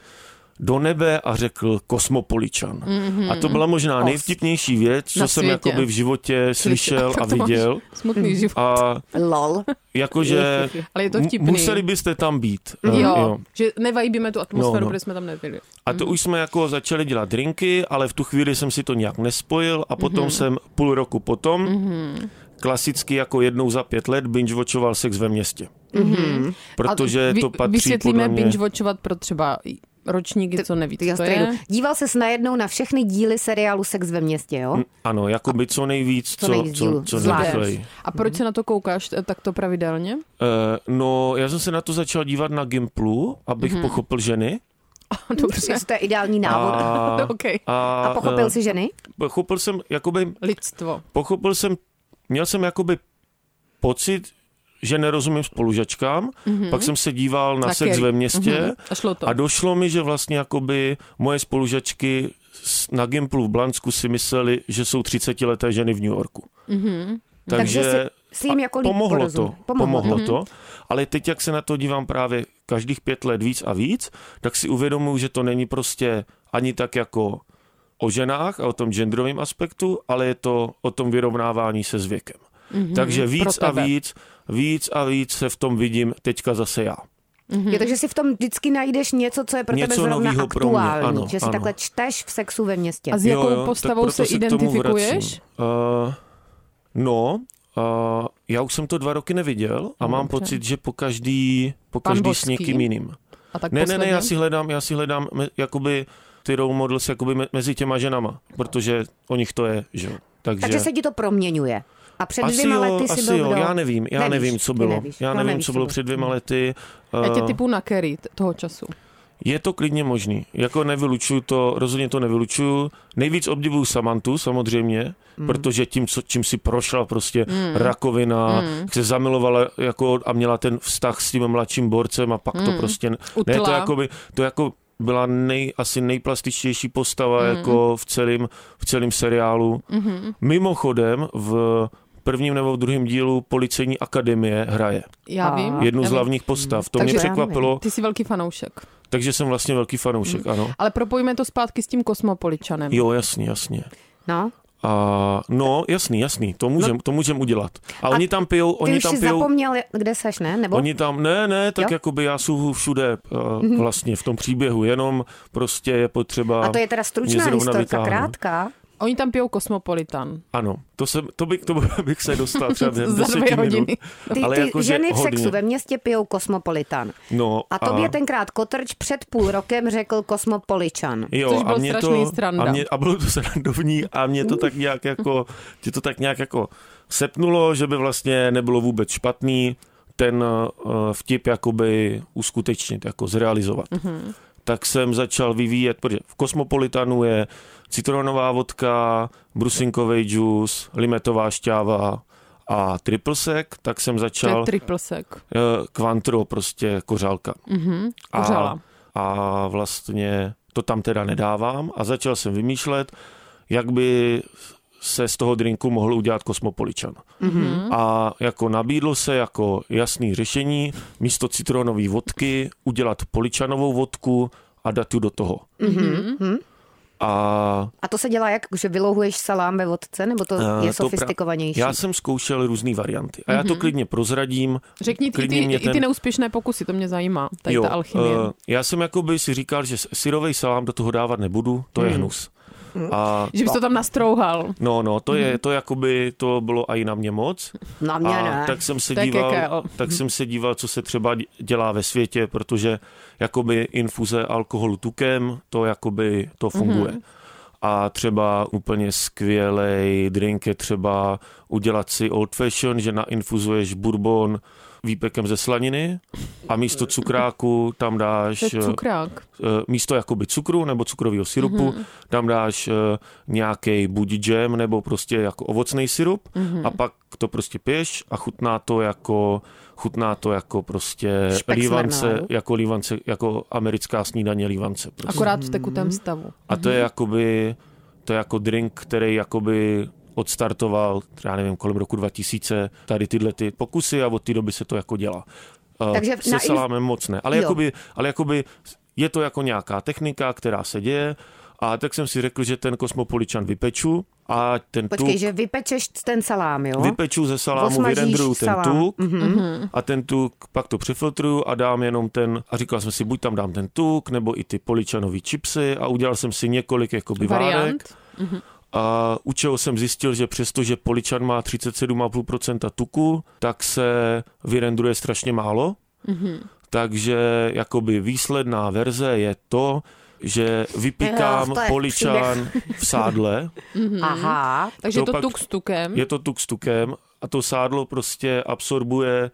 do nebe a řekl kosmopoličan. Mhm. A to byla možná Os. nejvtipnější věc, co Na jsem světě. jakoby v životě slyšel a Tak to máš. viděl. Smutný život. A lol. jakože Ale je to mu- vtipný. museli byste tam být. Jo, Eh, jo, že nevajbíme tu atmosféru, No, no, no. no. protože jsme tam nebyli. A to už jsme jako začali dělat drinky, ale v tu chvíli jsem si to nějak nespojil a potom jsem půl roku potom klasicky jako jednou za pět let binge-watchoval sex ve městě. Mhm. Protože A vy- to patří podle Vysvětlíme mě... binge-watchovat pro třeba ročníky, co neví, Ty já co to strejdu. je. Díval ses najednou na všechny díly seriálu Sex ve městě, jo? Mm, Ano, jako by co nejvíc, co, nejvíc dílů. co, co Zvládneš. nejrychleji. A proč se na to koukáš t- takto pravidelně? Eh, no, já jsem se na to začal dívat na Gimplu, abych pochopil ženy. Dobře, Prostě To je ideální návod. A, A, OK. a, pochopil eh, si ženy? Pochopil jsem, jakoby, Lidstvo. pochopil jsem, měl jsem jakoby pocit, že nerozumím spolužačkám, mm-hmm. pak jsem se díval na Na sex Kerry. ve městě Mhm. A šlo to. a došlo mi, že vlastně jakoby moje spolužačky s- na Gimplu v Blansku si mysleli, že jsou 30-leté ženy v New Yorku. Mhm. Takže, Takže si- S jim a jako líp pomohlo porozum- to, pomohlo Mhm. to, ale teď, jak se na to dívám právě každých pět let víc a víc, tak si uvědomuji, že to není prostě ani tak jako o ženách a o tom genderovém aspektu, ale je to o tom vyrovnávání se s věkem. Mm-hmm, Takže víc Mhm. pro a tebe. víc, víc a víc se v tom vidím teďka zase já. Jo, takže si v tom vždycky najdeš něco, co je pro tebe Mm-hmm. Něco zrovna novýho pro mě, aktuální. ano, že si ano. takhle čteš v sexu ve městě. A s jakou postavou tak se proto k tomu identifikuješ? vracím. Uh, no, uh, já už jsem to dva roky neviděl a mám Dobře. pocit, že po každý, po Pan každý s Božský? někým jiným. A tak Ne, ne, ne, posledně? já si hledám, já si hledám me- jakoby ty role models jakoby me- mezi těma ženama, protože o nich to je, že jo. Takže, Takže se ti to proměňuje. A před asi dvěma jo, lety si asi byl jo, kdo? já nevím, já Nevíš, nevíš, nevím, co ty bylo. nevíš, já no, nevím, nevíš, co co bylo bylo. před dvěma lety. Já tě Eh, typu na Kerry t- toho času. Je to klidně možný. Jako nevylučuju to, rozhodně to nevylučuju. Nejvíc obdivuju Samantu samozřejmě, mm. protože tím, co, čím si prošla prostě mm. rakovina, mm. se zamilovala jako a měla ten vztah s tím mladším borcem a pak mm. to prostě... Ne, to Utla. jako by, to jako byla nej, asi nejplastičtější postava mm. jako v celém v celém seriálu. Mm. Mimochodem v prvním nebo v druhém dílu Policejní akademie hraje. Já A- vím. Jednu já z vím. hlavních postav. To Takže- mě překvapilo, Ty jsi velký fanoušek. takže jsem vlastně velký fanoušek, ano. Ale propojíme to zpátky s tím kosmopoličanem. Jo, jasně, jasně. No, A, no, jasný, jasný, to můžem, to můžem udělat. A, oni tam pijou, ty oni už tam si pijou, zapomněl, kde seš, ne? Nebo oni tam, ne, ne, tak Jo? Mhm. jakoby já jsou všude uh, vlastně v tom příběhu, jenom prostě je potřeba... A to je teda mě stručná zrovna historka, vytáhnout. krátká. Oni tam pijou kosmopolitan. Ano, to, jsem, to, by, to bych se dostal třeba během Za dvě 10 minut. hodiny. Ty, Ale ty jakože ženy v hodně. sexu ve městě pijou kosmopolitan. No, A tobě tenkrát Kotrč před půl rokem řekl kosmopoličan. Jo, Což a byl mě strašný to, sranda. A, mě, a bylo to srandovní a mě to tak nějak jako, tě to tak nějak jako sepnulo, že by vlastně nebylo vůbec špatný ten eh, vtip jakoby uskutečnit, jako zrealizovat. Mhm. Mm-hmm. Tak jsem začal vyvíjet, protože v Kosmopolitanu je citronová vodka, brusinkový džus, limetová šťáva a triple sec, tak jsem To je začal triple sek. eh, kvantro, prostě kořálka. Mhm, A- Kořala. a vlastně to tam teda nedávám a začal jsem vymýšlet, jak by se z toho drinku mohl udělat kosmopoličan. Mhm. A jako nabídlo se jako jasný řešení místo citronové vodky udělat poličanovou vodku a dát ju do toho. Mhm. Mhm. A A to se dělá jak, že vylouhuješ salám ve vodce, nebo to Eh, to je pra- sofistikovanější? Mhm. já jsem zkoušel různé varianty. A já to klidně prozradím. Řekni i klidně ty, mě i ty ten- neúspěšné pokusy, to mě zajímá. Tady ta alchymie. eh, já jsem jako by si říkal, že syrový salám do toho dávat nebudu, to je Hmm. hnus. A že bys to tam nastrouhal. No, no, to je, to jakoby, to bylo i na mě moc. Na No, mě A ne. tak jsem se Tak díval, jaká- tak jsem se díval, co se třeba dě- dělá ve světě, protože jakoby infuze alkoholu tukem, to jakoby, to Mhm. funguje. A třeba úplně skvělej drink je třeba udělat si old fashion, že nainfuzuješ bourbon, výpekem ze slaniny a místo cukráku tam dáš To je cukrák. eh, místo jakoby cukru nebo cukrového syrupu, mm-hmm. tam dáš nějaký buď džem nebo prostě jako ovocný syrup mm-hmm. a pak to prostě piješ a chutná to jako chutná to jako prostě Špek s lívance, marmeládou. jako lívance, jako americká snídaně lívance. Prostě. Akorát v tekutém stavu. A to je Mhm. jakoby, to je jako drink, který jakoby odstartoval, já nevím, kolem roku 2000, tady tyhle ty pokusy a od té doby se to jako dělá. Eh, Takže se na ins- salámem moc ne. Ale Jo. jakoby, ale jakoby je to jako nějaká technika, která se děje a tak jsem si řekl, že ten kosmopoličan vypeču a ten Počkej, tuk že vypečeš ten salám, jo? vypeču ze salámu, Osmažíš vyrendruju ten salám. Mhm. tuk a ten tuk pak to přefiltruju a dám jenom ten, a říkal jsem si, buď tam dám ten tuk, nebo i ty poličanový čipsy a udělal jsem si několik jakoby várek. Variant. Mhm. A u čeho jsem zjistil, že přestože poličan má 37,5% tuku, tak se vyrendruje strašně málo. Mm-hmm. Mhm. Takže jakoby výsledná verze je to, že vypíkám Jo, Eh, to je poličan v sádle, Mhm. Mhm. Aha. Takže To to pak- tuk s tukem. je to tuk s tukem a to sádlo prostě absorbuje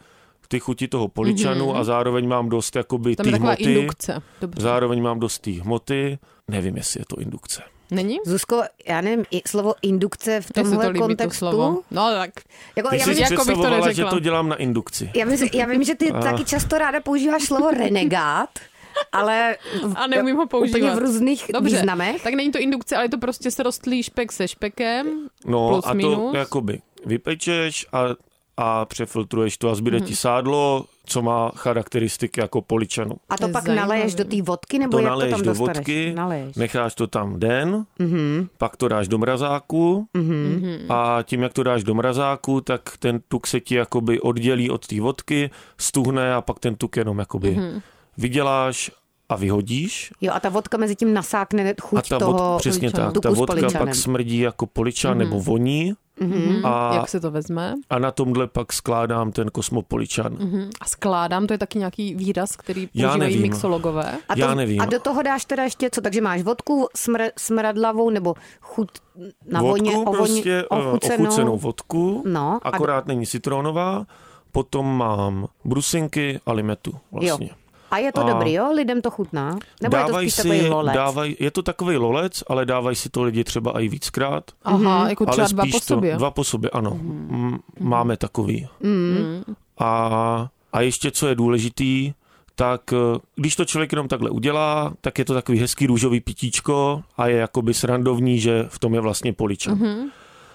ty chuti toho poličanu mm-hmm. a zároveň mám dost jakoby Mhm. Tam je té taková hmoty. indukce. Dobře. Zároveň mám dost té hmoty. Nevím, jestli je to indukce. Není? Zuzko, já nevím, i slovo indukce v Mně se tomhle to líbí to kontextu. slovo. No tak, Jako, Ty já, jsi vím, si bych že- to představovala, že neřekla. to dělám na indukci. já, vím, že- já vím, že ty taky často ráda používáš slovo renegát, ale v- a neumím ho používat. úplně v různých Dobře, významech. tak není to indukce, ale je to prostě srostlý špek se špekem. No Plus, a to minus. jakoby vypečeš a, a přefiltruješ to a zbyde Mhm. ti sádlo, co má charakteristiky jako poličanu. A to je pak zajímavý. naleješ do té vodky, nebo To jak to naleješ tam do dostaneš? vodky, Naleješ. Mhm. necháš to tam den, mm-hmm. pak to dáš do mrazáku mm-hmm. a tím, jak to dáš do mrazáku, tak ten tuk se ti jakoby oddělí od té vodky, stuhne a pak ten tuk jenom jakoby mm-hmm. vyděláš a vyhodíš Jo, a ta vodka mezi tím nasákne chuť a ta toho vodka, přesně poličanu. tak, tuku ta s vodka poličanem. pak smrdí jako poličan Mhm. mm-hmm. nebo voní mm-hmm. A... a Hm, Jak se to vezme? a na tomhle pak skládám ten kosmopoličan. Mhm. Mm-hmm. A skládám, to je taky nějaký výraz, který používají nevím. mixologové. A to, Já nevím. A do toho dáš teda ještě co? Takže máš vodku smr, smradlavou nebo chuť na vodku voně, o voně, prostě eh, ochucenou. ochucenou vodku, No, a- akorát není citronová, potom mám brusinky a limetu vlastně. Jo. A je to A- a... dobrý, jo? Lidem to chutná? Nebo je to spíš takový lolec? Dávaj, je to takový lolec, ale dávají si to lidi třeba i víckrát. Aha, jako třeba ale dva spíš po sobě. To, dva po sobě, ano. Mm. Máme takový. Mm. Mhm. A, a ještě, co je důležitý, tak eh, když to člověk jenom takhle udělá, tak je to takový hezký růžový pitíčko a je jakoby srandovní, že v tom je vlastně poličan. Mm-hmm.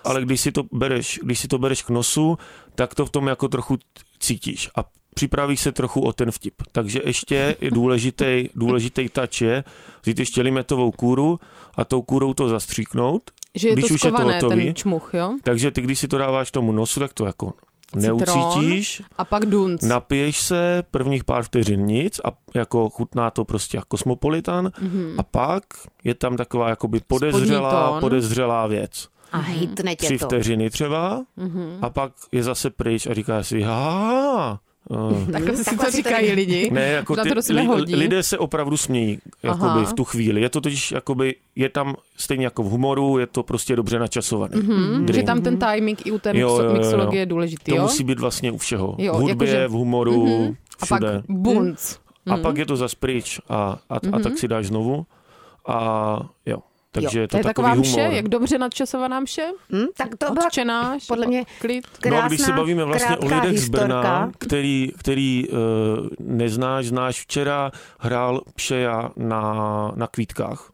Ale když si, to bereš, když si to bereš k nosu, tak to v tom jako trochu cítíš a připravíš se trochu o ten vtip. Takže ještě je důležitý, důležitý touch je vzít ještě limetovou kůru a tou kůrou to zastříknout. Že je když to už je to skované, hotový, ten čmuch, jo? takže ty, když si to dáváš tomu nosu, tak to jako Citron. neucítíš, A pak dunc. napiješ se prvních pár vteřin nic a jako chutná to prostě jako kosmopolitan mm-hmm. a pak je tam taková jakoby podezřelá, Mhm. tón. podezřelá věc. A hitne tě Tři to. vteřiny třeba Mhm. mm-hmm. a pak je zase pryč a říká si, ha, eh." Takhle si Takhle to si to- říkají lidi. ne, jako Na ty, to do sebe hodí. lidé se opravdu smějí jakoby Aha. v tu chvíli. Je to totiž, jakoby, je tam stejně jako v humoru, je to prostě dobře načasované. Mm-hmm. Mhm. Že tam ten timing i u té Jo, jo, mixo- jo, jo. mixologie je důležitý, To jo? musí být vlastně u všeho. Jo, v hudbě, jakože- v humoru, mm-hmm. A pak všude. A pak, bunc. Hmm. a pak je to zas pryč a, a, mm-hmm. a tak si dáš znovu. A jo, takže jo, je to, To je takový taková mše, humor. jak dobře nadčasovaná mše, Hm? Tak to byla odčená, podle mě klid. krásná, no a když se bavíme vlastně o krátká lidech z historka. Brna, který, který uh, neznáš, znáš včera, hrál Pšeja na, na kvítkách.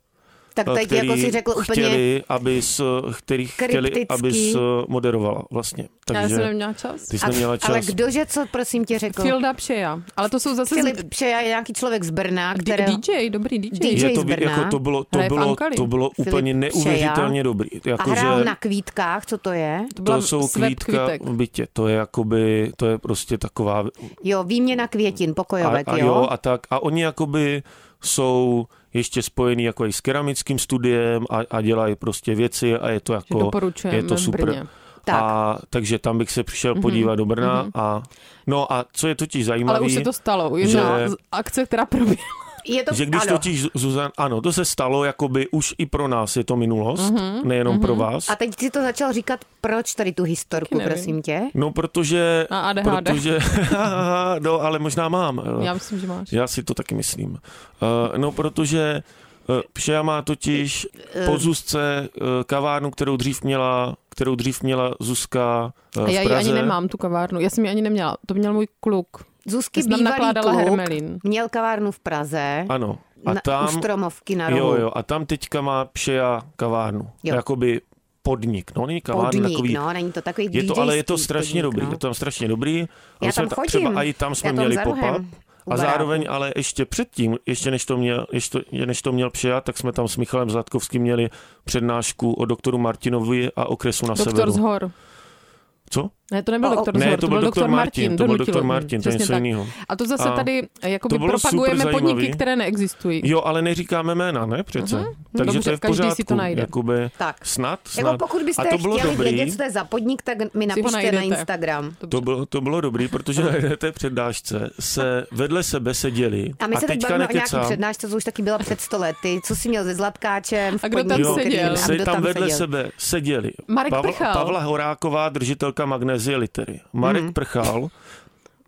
Tak eh, teď jako si řekl úplně... chtěli, abys, eh, který chtěli, Kryptický. abys eh, moderovala vlastně. Já jsem Takže neměla čas. ty jsi A- neměla čas. Ale kdože co, prosím tě, řekl? Filda Pšeja. Ale to jsou zase... Jako Filip Přeja je nějaký člověk z Brna, D- který... DJ, dobrý DJ. DJ. je to, z by- Brna, jako to bylo, to hraje v bylo, Ankali. to bylo Filip úplně neuvěřitelně dobrý. A Jako, hrál že na kvítkách, co to je? To, byla to jsou Sveb kvítka Kvitek. v bytě. To je jakoby, to je prostě taková... Jo, výměna květin, A, pokojovek, a jo, a tak. A oni jakoby jsou ještě spojený jako i s keramickým studiem a, a dělají prostě věci a je to Že jako... doporučujeme je to super. v Brně. Tak. A, takže tam bych se přišel podívat do Brna a... No a co je totiž Ale zajímavé... už se to stalo. Jedna že- z akce, která proběhla. Je to, Že když ano. totiž Zuzan, ano, to se stalo, jakoby už i pro nás je to minulost, nejenom pro vás. A teď si to začal říkat, proč tady tu historku, Taky nevím. prosím tě? No, protože... A ADHD. Protože, no, ale možná mám. Já myslím, že máš. Já si to taky myslím. Eh, No, protože eh, Pšea má totiž Eh, po Zuzce eh, kavárnu, kterou dřív měla, kterou dřív měla Zuzka eh, A já v ji Praze. ani nemám, tu kavárnu. Já jsem ji ani neměla. To měl můj kluk. Zuzky Ty tam bývalý nakládala kluk hermelín. měl kavárnu v Praze, Ano. A na, u tam, stromovky na rohu. jo, jo, a tam teďka má Pšea kavárnu. Jo. Jakoby podnik. No, není kavárna, Podnik, takový no, není to takový Je to, DJ ale je to stý podnik, strašně dobrý, no. je to tam strašně dobrý. A Já my jsme tam ta- chodím. Třeba i tam jsme Já tam měli za pop-up. rohem, u A baráku. zároveň ale ještě předtím, ještě než to měl, ještě, než to měl přijat, tak jsme tam s Michalem Zlatkovským měli přednášku o doktoru Martinovi a okresu na doktor severu. z hor. Co? Ne, to nebyl O, o. doktor z Ne, hor, to byl doktor Martin, to byl donutilo. doktor Hm, Martin, to je přesně něco tak. jiného. A to zase A tady eh, jakoby to bylo propagujeme super podniky, zajímavý. které neexistují. Jo, ale neříkáme jména, ne přece? Takže Dobře, to je v každý si pořádku. to najde. Jakoby, Tak. Snad, snad. Jako pokud byste a to bylo chtěli dobrý. vědět, co to je za podnik, tak mi napište na najdete. Instagram. To bylo, to bylo dobrý, protože na té přednášce se vedle sebe seděli A my se teď teďka bavíme o nějaký nekecám. přednášce, co už taky byla před stolety. Co jsi měl se Zlatkáčem? v A kdo tam podniku, seděl? který- Se- A kdo tam, tam vedle seděl? sebe seděli. Marek Pavla, Prchal. Pavla Horáková, držitelka magnézie litery. Marek mm. Prchal,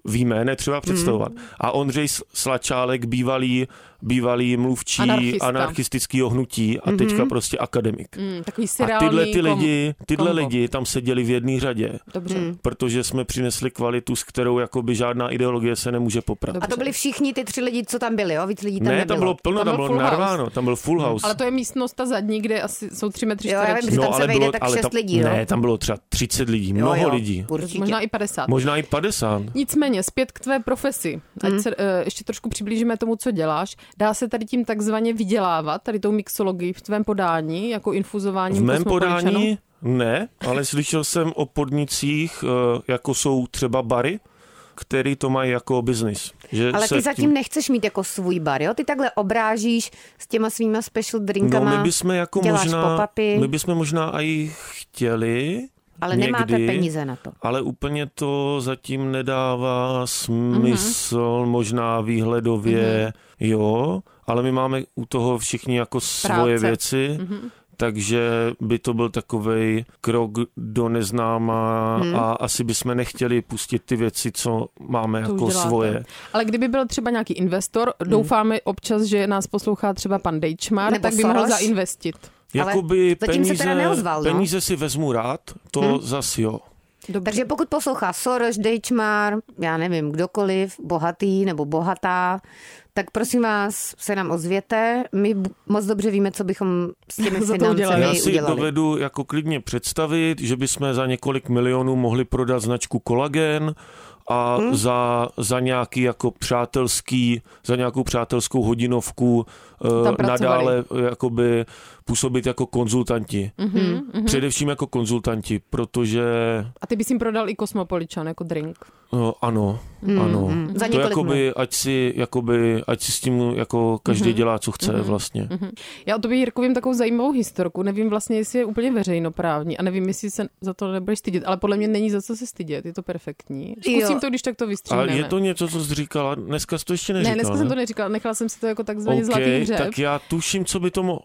víme, netřeba představovat. A Ondřej S- Slačálek, bývalý, bývalý mluvčí Anarchista. anarchistického hnutí a teďka prostě akademik. Mm, takový A seriální tyhle ty lidi, tyhle kombo. lidi tam seděli v jedné řadě, Kom... Dobře. Hm. protože jsme přinesli kvalitu, s kterou jakoby žádná ideologie se nemůže poprat. A to byli všichni ty tři lidi, co tam byli, jo? Víc lidí tam ne, nebylo. tam bylo plno, Tam byl tam bylo full house. Mhm. narváno, tam byl full house. Ale to je místnost ta zadní, kde asi jsou 3 metry Jo, já vím, čtvereční. že No, tam se vejde tak šest tam, lidí, jo? Ne, tam bylo třeba 30 lidí, mnoho jo, jo, lidí. Určitě. Možná i 50. Možná i 50. Nicméně, zpět k tvé profesi. Hm. Ať se eh, ještě trošku přiblížíme tomu, co děláš. Dá se tady tím takzvaně vydělávat, tady tou mixologii v tvém podání, jako infuzování V mém podání ne, ale slyšel jsem o podnicích, eh, jako jsou třeba bary, který to mají jako biznis. Že Ale se ty zatím nechceš mít jako svůj bar, jo? Ty takhle obrážíš s těma svýma special drinkama. No my bychom jako děláš možná, pop-upy. my bychom možná i chtěli, Ale někdy, nemáte peníze na to. Ale úplně to zatím Mhm. nedává smysl, mm-hmm. možná výhledově, Mhm. mm-hmm. jo, ale my máme u toho všichni jako svoje Práce. věci, Mhm. mm-hmm. takže by to byl takovej krok do neznáma Mhm. mm. a asi bychom nechtěli pustit ty věci, co máme To už jako děláte. svoje. Ale kdyby byl třeba nějaký investor, doufáme občas, že nás poslouchá třeba pan Hm. Dejčmar, Nebo tak by mohl Soros. zainvestit. Ale Jakoby zatím se peníze, teda neozval, no. Mhm. peníze si vezmu rád, to mm. zas jo. Dobře. Takže pokud poslouchá Soros, Dejčmar, já nevím, kdokoliv, bohatý nebo bohatá, tak prosím vás, se nám ozvěte. My b- moc dobře víme, co bychom s těmi Za to financemi udělali. Já si udělali. dovedu jako klidně představit, že bychom za několik milionů mohli prodat značku kolagen a hmm. za, za nějaký jako přátelský, za nějakou přátelskou hodinovku eh, Tam pracovali. nadále eh, jakoby působit jako konzultanti. Mhm, mhm. Především jako konzultanti, protože A ty bys jim prodal i Kosmopoličan jako drink. no, ano, ano. mm. Za několik To minut. jakoby, ať si, jakoby, ať si s tím jako každý Mhm. dělá, co chce vlastně. Já o tobě, Jirko, vím takovou zajímavou historku. Nevím vlastně, jestli je úplně veřejnoprávní a nevím, jestli se za to nebudeš stydět, ale podle mě není za co se stydět. Je to perfektní. Zkusím Jo. to, když tak to A vystříhneme. je to něco, co jsi říkala? Dneska jsi to ještě neříkala, ne, dneska jsem to neříkala, nechala jsem si to jako takzvaný OK, okay, zlatý hřeb. tak já tuším, co by to mohlo.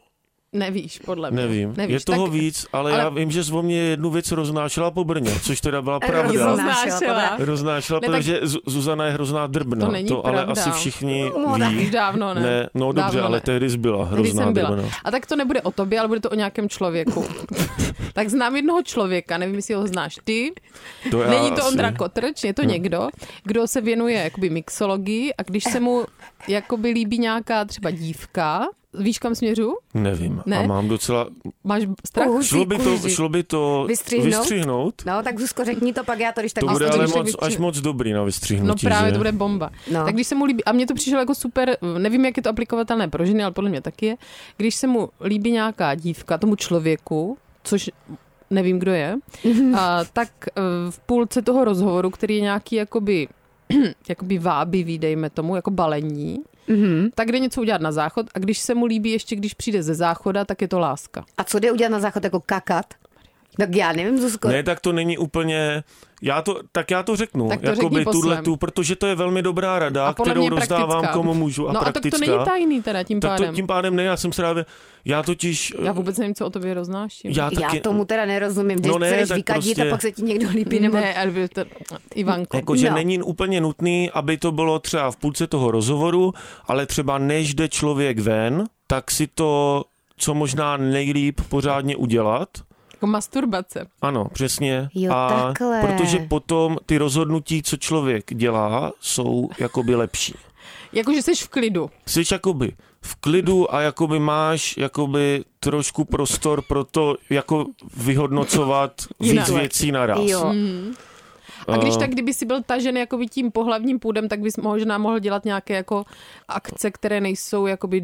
Nevíš, podle mě. Nevím, Nevíš. je toho tak... víc, ale, ale- já vím, že zvo mě jednu věc roznášela po Brně, což teda byla pravda. Roznášela. Roznášela. Roznášela, Ne, tak- protože Zu- Zuzana je hrozná drbna, To není to ale pravda. asi všichni No, tak ví. Už dávno ne. Ne, no Dávno dobře, ale ne. tehdy jsi byla Tehdy hrozná no. jsem byla. drbna. A tak to nebude o tobě, ale bude to o nějakém člověku. tak znám jednoho člověka, nevím, jestli ho znáš ty. To já Není to asi- Hmm. Ondra Kotrč, je to někdo, kdo se věnuje jakoby mixologii a když se mu jakoby líbí nějaká třeba dívka, víš kam směřu? Nevím, Ne? a mám docela... Máš strach? Uhu. Kuží, Šlo by to, kuží. šlo by to Vystřihnout? vystřihnout? No, tak Zuzko, řekni to pak, já to když tak To bude to ale když tak moc, vystřihnu- až moc dobrý na No vystřihnutí, právě, že? to bude bomba. No. No. Tak když se mu líbí, a mně to přišlo jako super, nevím, jak je to aplikovatelné pro ženy, ale podle mě taky je, když se mu líbí nějaká dívka tomu člověku, což nevím, kdo je, a, tak eh, v půlce toho rozhovoru, který je nějaký jakoby, jakoby vábivý, dejme tomu, jako balení, mm-hmm. tak jde něco udělat na záchod a když se mu líbí ještě, když přijde ze záchoda, tak je to láska. A co jde udělat na záchod jako kakat? Tak já nevím, Zuzko. Ne, tak to není úplně... Já to, tak já to řeknu, Tak to jakoby řekni poslem. tuhletu, protože to je velmi dobrá rada, A podle kterou mě praktická. rozdávám komu můžu a no praktická. a tak to není tajný teda tím Tak pádem. to, tím pádem ne, já jsem se rád... Já totiž... Já vůbec nevím, co o tobě roznáším. já, Já taky, tomu teda nerozumím. Když No no ne, ne, chceš tak vykadit prostě- a pak se ti někdo líbí, nebo... Ne, Elvy, to... Ivanko. Jako, že No. není úplně nutný, aby to bylo třeba v půlce toho rozhovoru, ale třeba než jde člověk ven, tak si to co možná nejlíp pořádně udělat. Jako masturbace. Ano, přesně. Jo, a takhle. protože potom ty rozhodnutí, co člověk dělá, jsou jakoby lepší. Jako, že jsi v klidu. Jsi jakoby v klidu a jakoby máš jakoby trošku prostor pro to jako vyhodnocovat víc Jinak. věcí naraz. Jo. A když Eh. tak, kdyby si byl tažen jakoby tím pohlavním půdem, tak bys možná mohl dělat nějaké jako akce, které nejsou jakoby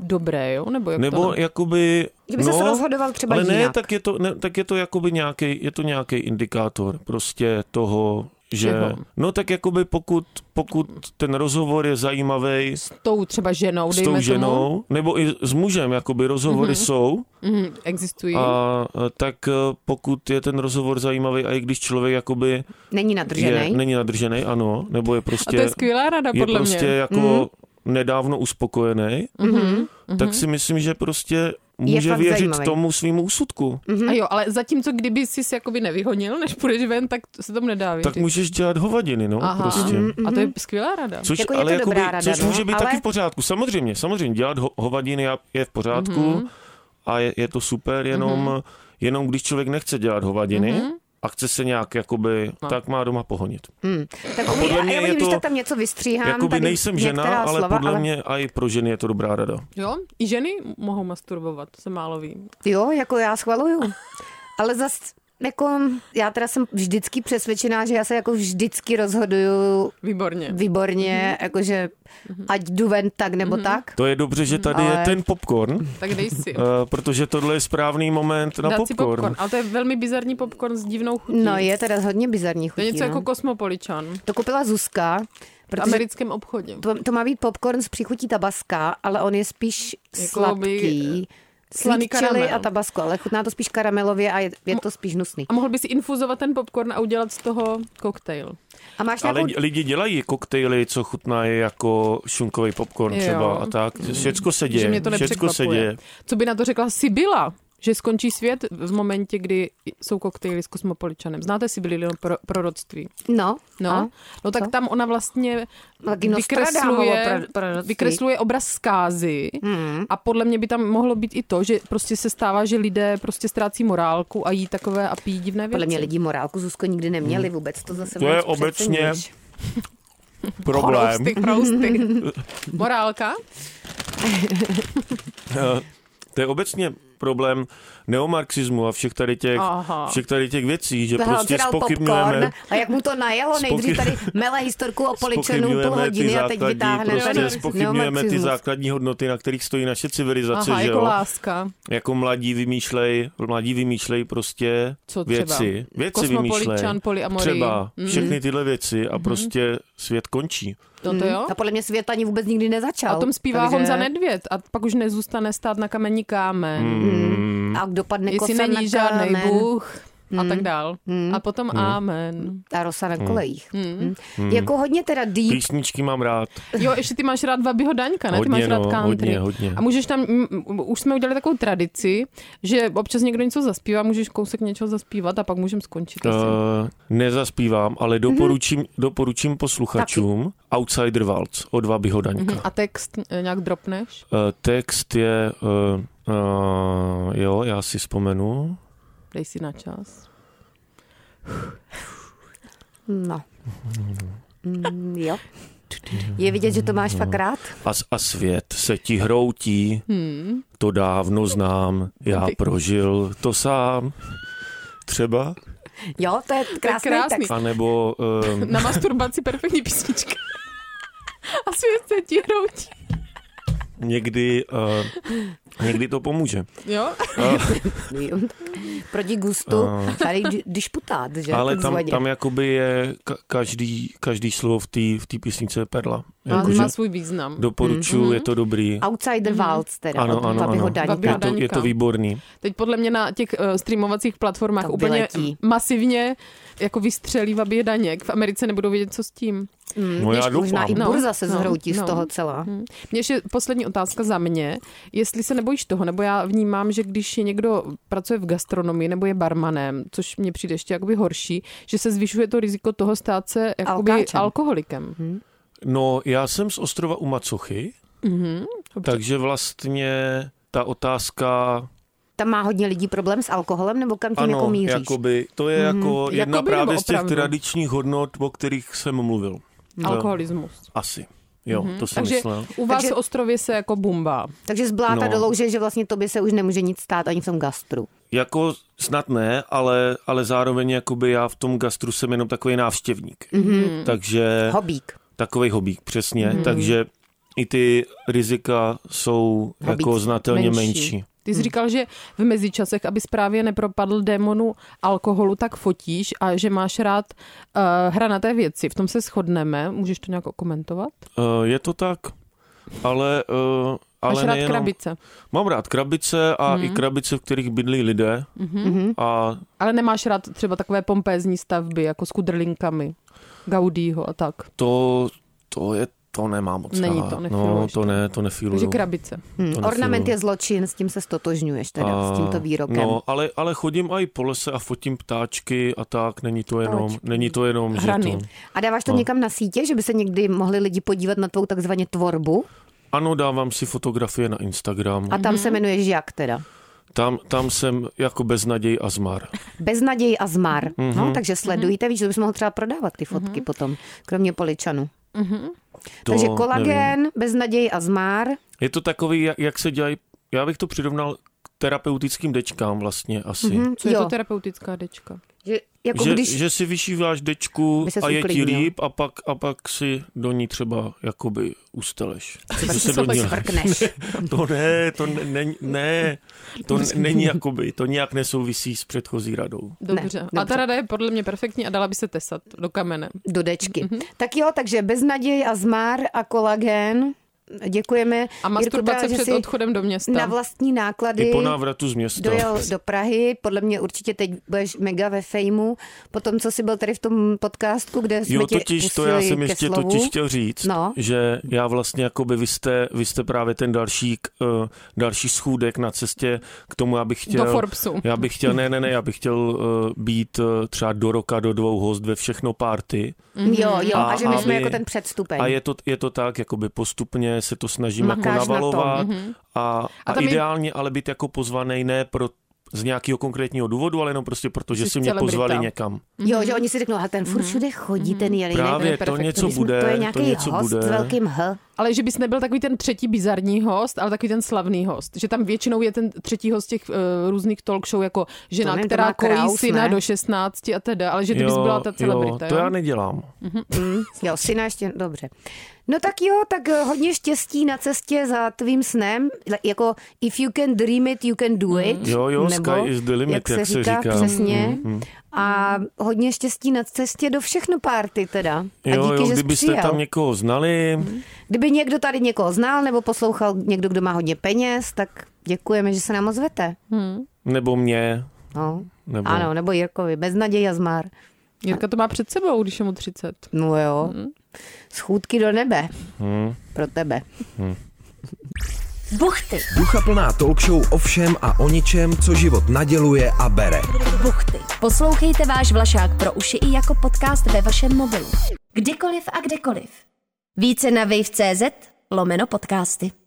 dobré, jo? Nebo jak Nebo to ne? jakoby... Kdyby no, se rozhodoval třeba Ale ne, jinak. tak je to, ne, tak je to jakoby nějaký, je to nějaký indikátor prostě toho, že... Čeho? No tak jakoby pokud, pokud ten rozhovor je zajímavý s tou třeba ženou, dejme tou tomu. ženou, nebo i s mužem, jakoby rozhovory mm-hmm. jsou, Mhm, existují. a e, tak e, pokud je ten rozhovor zajímavý a i když člověk jakoby Není nadržený. je, není nadržený, ano, nebo je A prostě... to je skvělá rada, je podle prostě mě. Mhm. jako nedávno uspokojený, Mhm. tak si myslím, že prostě může fakt věřit zajímavý. Mhm. tomu svýmu úsudku. A jo, ale zatímco kdyby jsi se jakoby nevyhonil, než půjdeš ven, tak to- se tomu nedá věřit. Tak můžeš dělat hovadiny, no, Aha. Mhm, prostě. A to je skvělá rada. Což, Mhm. Jako je to ale jakoby, dobrá rada, což no, může být ale- taky v pořádku. Samozřejmě, samozřejmě, dělat ho, hovadiny a- je v pořádku Mhm. a je, je to super, jenom, jenom když člověk nechce dělat hovadiny Mhm. a chce se nějak, jakoby, No. tak má doma pohonit. Hmm. Tak A podle podle já, mě já je vidím, to- že tam něco vystříhám. Jakoby tady nejsem žena, některá ale slova, podle mě a i pro ženy je to dobrá rada. Jo, i ženy mohou masturbovat, to se málo ví. Jo, jako já schvaluju. Ale zas, jako, já teda jsem vždycky přesvědčená, že já se jako vždycky rozhoduju Výborně. výborně, Mhm. jakože ať jdu ven tak nebo tak. To je dobře, že tady je Ale- ten popcorn, Tak dej si. eh, protože tohle je správný moment na Dát si popcorn. popcorn. Ale to je velmi bizarní popcorn s divnou chutí. No je teda hodně bizarní To chutí. je něco no. jako kosmopoličan. To koupila Zuzka, V protože americkém obchodě. to, to má být popcorn s příchutí tabaska, ale on je spíš Jakoby, sladký. Jako eh, slaný Sweet chili karamel. a tabasko, ale chutná to spíš karamelově a je, je to spíš hnusný. A mohl bys infuzovat ten popcorn a udělat z toho koktejl. A máš Ale nějakou... jako- d- lidi dělají koktejly, co chutná je jako šunkový popcorn Jo. Mm. třeba a tak. Všecko se Že děje. mě to Všecko se děje. nepřekvapuje. Co by na to řekla Sibila? že skončí svět v momentě, kdy jsou koktejly s kosmopoličanem. Znáte Sibili pro, proroctví? No, No, A? no tak co? tam ona vlastně Taky Nostradamovo vykresluje, pro- proroctví. vykresluje obraz zkázy Hmm. a podle mě by tam mohlo být i to, že prostě se stává, že lidé prostě ztrácí morálku a jí takové a pijí divné věci. Podle mě lidi morálku Zuzko nikdy neměli vůbec, to zase Hmm. To je moc obecně přeceňuješ. Problém. Chorousty, chorousty. Morálka? Eh, To je obecně problém neomarxismu a všech tady těch, Aha. všech tady těch věcí, že Hele, on si prostě dal spochybňujeme, popcorn a jak mu to najelo, nejdřív tady mele historku o poličanu půl spochybňujeme ty hodiny a teď základní, vytáhne prostě tady spochybňujeme ty neomarxismus. základní hodnoty, na kterých stojí naše civilizace, Aha, že jako jo? láska. Jako mladí vymýšlej, mladí vymýšlej prostě Co třeba? věci. Věci vymýšlej. Kosmopoličan, polyamory. Třeba Mm. všechny tyhle věci Mm-hmm. a prostě svět končí. Toto jo? No, A podle mě svět ani vůbec nikdy nezačal. A tom zpívá Mm, takže- Honza Nedvěd a pak už nezůstane stát na kamení kámen. Hmm. Hm? A dopadne Jestli kosa Jako na není žádný kámen. Hmm. Bůh a tak dál. A potom Hmm. amen. Ta rosa Hm. na kolejích. Hm. Hmm. Jako hodně teda deep. Písničky mám rád. Jo, ještě ty máš rád Vabyho Daňka, ne? Hodně, ty máš rád no, country. hodně, hodně. A můžeš tam, mm, mm, už jsme udělali takovou tradici, že občas někdo něco zaspívá, můžeš kousek něčeho zaspívat a pak můžeme skončit. asi. Uh, nezaspívám, ale Mhm. doporučím, doporučím posluchačům Outsider Waltz od Vaby Hodaňka. Mhm. A text eh, nějak dropneš? Eh, text je, uh, uh, jo, já si vzpomenu. Dej si na čas. No. Mm, jo. Je vidět, že to máš fakt rád. A, s- a svět se ti hroutí, Hmm. to dávno znám, já Ty- prožil to sám. Třeba? Jo, to je krásný, krásný. text. A nebo... Uh, Na masturbaci perfektní písnička. A svět se ti hroutí. někdy uh, Někdy to pomůže. Jo? Proti gustu, ale i když putát, že? Ale tam, takzvaně. tam jakoby je ka- každý, každý slovo v té v té písnice perla. Má, Jakože No, má svůj Mhm. význam. doporučuju, je to dobrý. Outsider Mhm. Waltz teda, Ano, od ano, Babiho ano. Daňka. Je to, je to výborný. Teď podle mě na těch eh, streamovacích platformách To úplně vyletí. masivně jako vystřelí vabě daněk. V Americe nebudou vědět, co s tím. Mm, No já když možná doufám. i burza se No, zhroutí no. z toho celá. Mě ještě poslední otázka za mě. Jestli se nebojíš toho, nebo já vnímám, že když je někdo pracuje v gastronomii nebo je barmanem, což mně přijde ještě jakoby horší, že se zvyšuje to riziko toho stát se jakoby Alkáčem. Mhm. alkoholikem. Hmm. No, já jsem z ostrova u Macochy, Mhm. takže vlastně ta otázka Tam má hodně lidí problém s alkoholem, nebo kam tím Ano, jako míříš? jakoby, to je jako Jakoby jedna nebo právě z těch Mhm. opravdu? No. tradičních hodnot, o kterých jsem mluvil. Alkoholismus. Mhm. Asi. Jo, to jsem Takže myslel. u vás Takže- v ostrově se jako bumbá. Takže zbláta No. do louže, že vlastně tobě se už nemůže nic stát ani v tom gastru. Jako snad ne, ale, ale zároveň jakoby já v tom gastru jsem jenom takový návštěvník. Mhm. Mm-hmm. Takže Hobík. takový hobík, přesně. Takže i ty rizika jsou Hobík jako znatelně menší. menší. Ty jsi říkal, že v mezičasech, aby právě nepropadl démonu alkoholu, tak fotíš a že máš rád uh, hranaté věci. V tom se shodneme. Můžeš to nějak komentovat? Eh, je to tak, ale, eh, ale máš rád Mhm. nejenom... krabice, Mám rád krabice a i krabice, v kterých bydlí lidé. Mhm. Mm-hmm. A ale nemáš rád třeba takové pompézní stavby, jako s kudrlinkami Gaudího a tak. To, to je, to nemám moc Není rád. to, No, nefiluješ to to. ne, to nefiluju. Takže krabice. Hm. To Ornament nefiluju. je zločin, s tím se stotožňuješ teda, s tímto výrokem. No, ale, ale chodím i po lese a fotím ptáčky a tak, není to jenom, není to jenom, Hrany. že to... A dáváš no. to někam na sítě, že by se někdy mohli lidi podívat na tvou takzvaně tvorbu? Ano, dávám si fotografie na Instagram. A Mhm. tam se jmenuješ jak teda? Tam, tam jsem jako beznaděj a zmar. Beznaděj a zmar. Mhm. No, Mhm. takže sledujte, víš, že bys mohl třeba prodávat ty fotky potom, kromě poličanů. To takže Nevím. kolagen, beznaděj a zmar. Je to takový, jak, jak se dělají, já bych to přirovnal k terapeutickým dečkám vlastně asi. Mm-hmm. Co jo. je Mhm, jo, to terapeutická dečka? že, jako Že, když... že si vyšíváš dečku Aby no. ses a je ti uklidnil. líp a pak, a pak si do ní třeba jakoby usteleš. třeba Co si se to do ní svrkneš. To ne, to ne, ne, ne to ne, není jakoby, to nějak nesouvisí s předchozí radou. Dobře. dobře. A ta rada je podle mě perfektní a dala by se tesat do kamene. do dečky. Mhm. Tak jo, takže beznaděj a zmar a kolagen. Děkujeme. A Jirko, masturbace že před jsi odchodem do města. na vlastní náklady I po návratu z města. dojel do Prahy. Podle mě určitě teď budeš mega ve fejmu. Po tom, co jsi byl tady v tom podcastku, kde jsme Jo, tě totiž to já pustili jsem ke ještě slovu. totiž chtěl říct, No. že já vlastně jakoby vy jste, vy jste právě ten další, k, eh, další schůdek na cestě k tomu, já bych chtěl... Do Forbesu. Já bych chtěl, ne, ne, ne, já bych chtěl eh, být eh, třeba do roka, do dvou host ve všechno party. Jo, jo, a, A- že my Mhm. a jsme vy- jako ten předstupeň. A je to, je to tak, jakoby postupně se to snažíme jako Makáš na tom, navalovat a, a, A tam je- ideálně ale být jako pozvaný ne pro z nějakého konkrétního důvodu, ale jenom prostě proto, že Jsi si mě celebrita. pozvali někam. Jo, že oni si řeknou, a ten furt všude chodí, ten jelínek. Mhm. Právě to je to perfektní. něco My jsme- bude, to je to nějaký něco host bude. s velkým H. Ale že bys nebyl takový ten třetí bizarní host, ale takový ten slavný host. Že tam většinou je ten třetí host těch uh, různých talk show, jako žena, To ne, to která má kojí Kraus, syna ne? do 16 a teda, ale že ty bys byla ta celebrita. to jo? já nedělám. Mm, jo, syna ještě, dobře. No tak jo, tak eh, hodně štěstí na cestě za tvým snem. Le- Jako if you can dream it, you can do it. Jo, jo, sky is the limit, jak se říká. Mhm, Přesně. A hodně štěstí na cestě do všechno party teda. A Jo, díky, že jo, jsi kdybyste přijel. tam někoho znali, Kdyby někdo tady někoho znal nebo poslouchal někdo, kdo má hodně peněz, tak děkujeme, že se nám ozvete. nebo mě, No. nebo... Ano, nebo Jirkovi. Beznaděj a zmar. Jirka to má před sebou, když je mu 30. No jo. Schůdky do nebe. Mhm. Pro tebe. Buchty, Duchaplná talk show o všem a o ničem, co život naděluje a bere. buchty. Poslouchejte váš Vlašák pro uši i jako podcast ve vašem mobilu. Kdykoliv a kdekoliv. Více na wave.cz lomeno podcasty.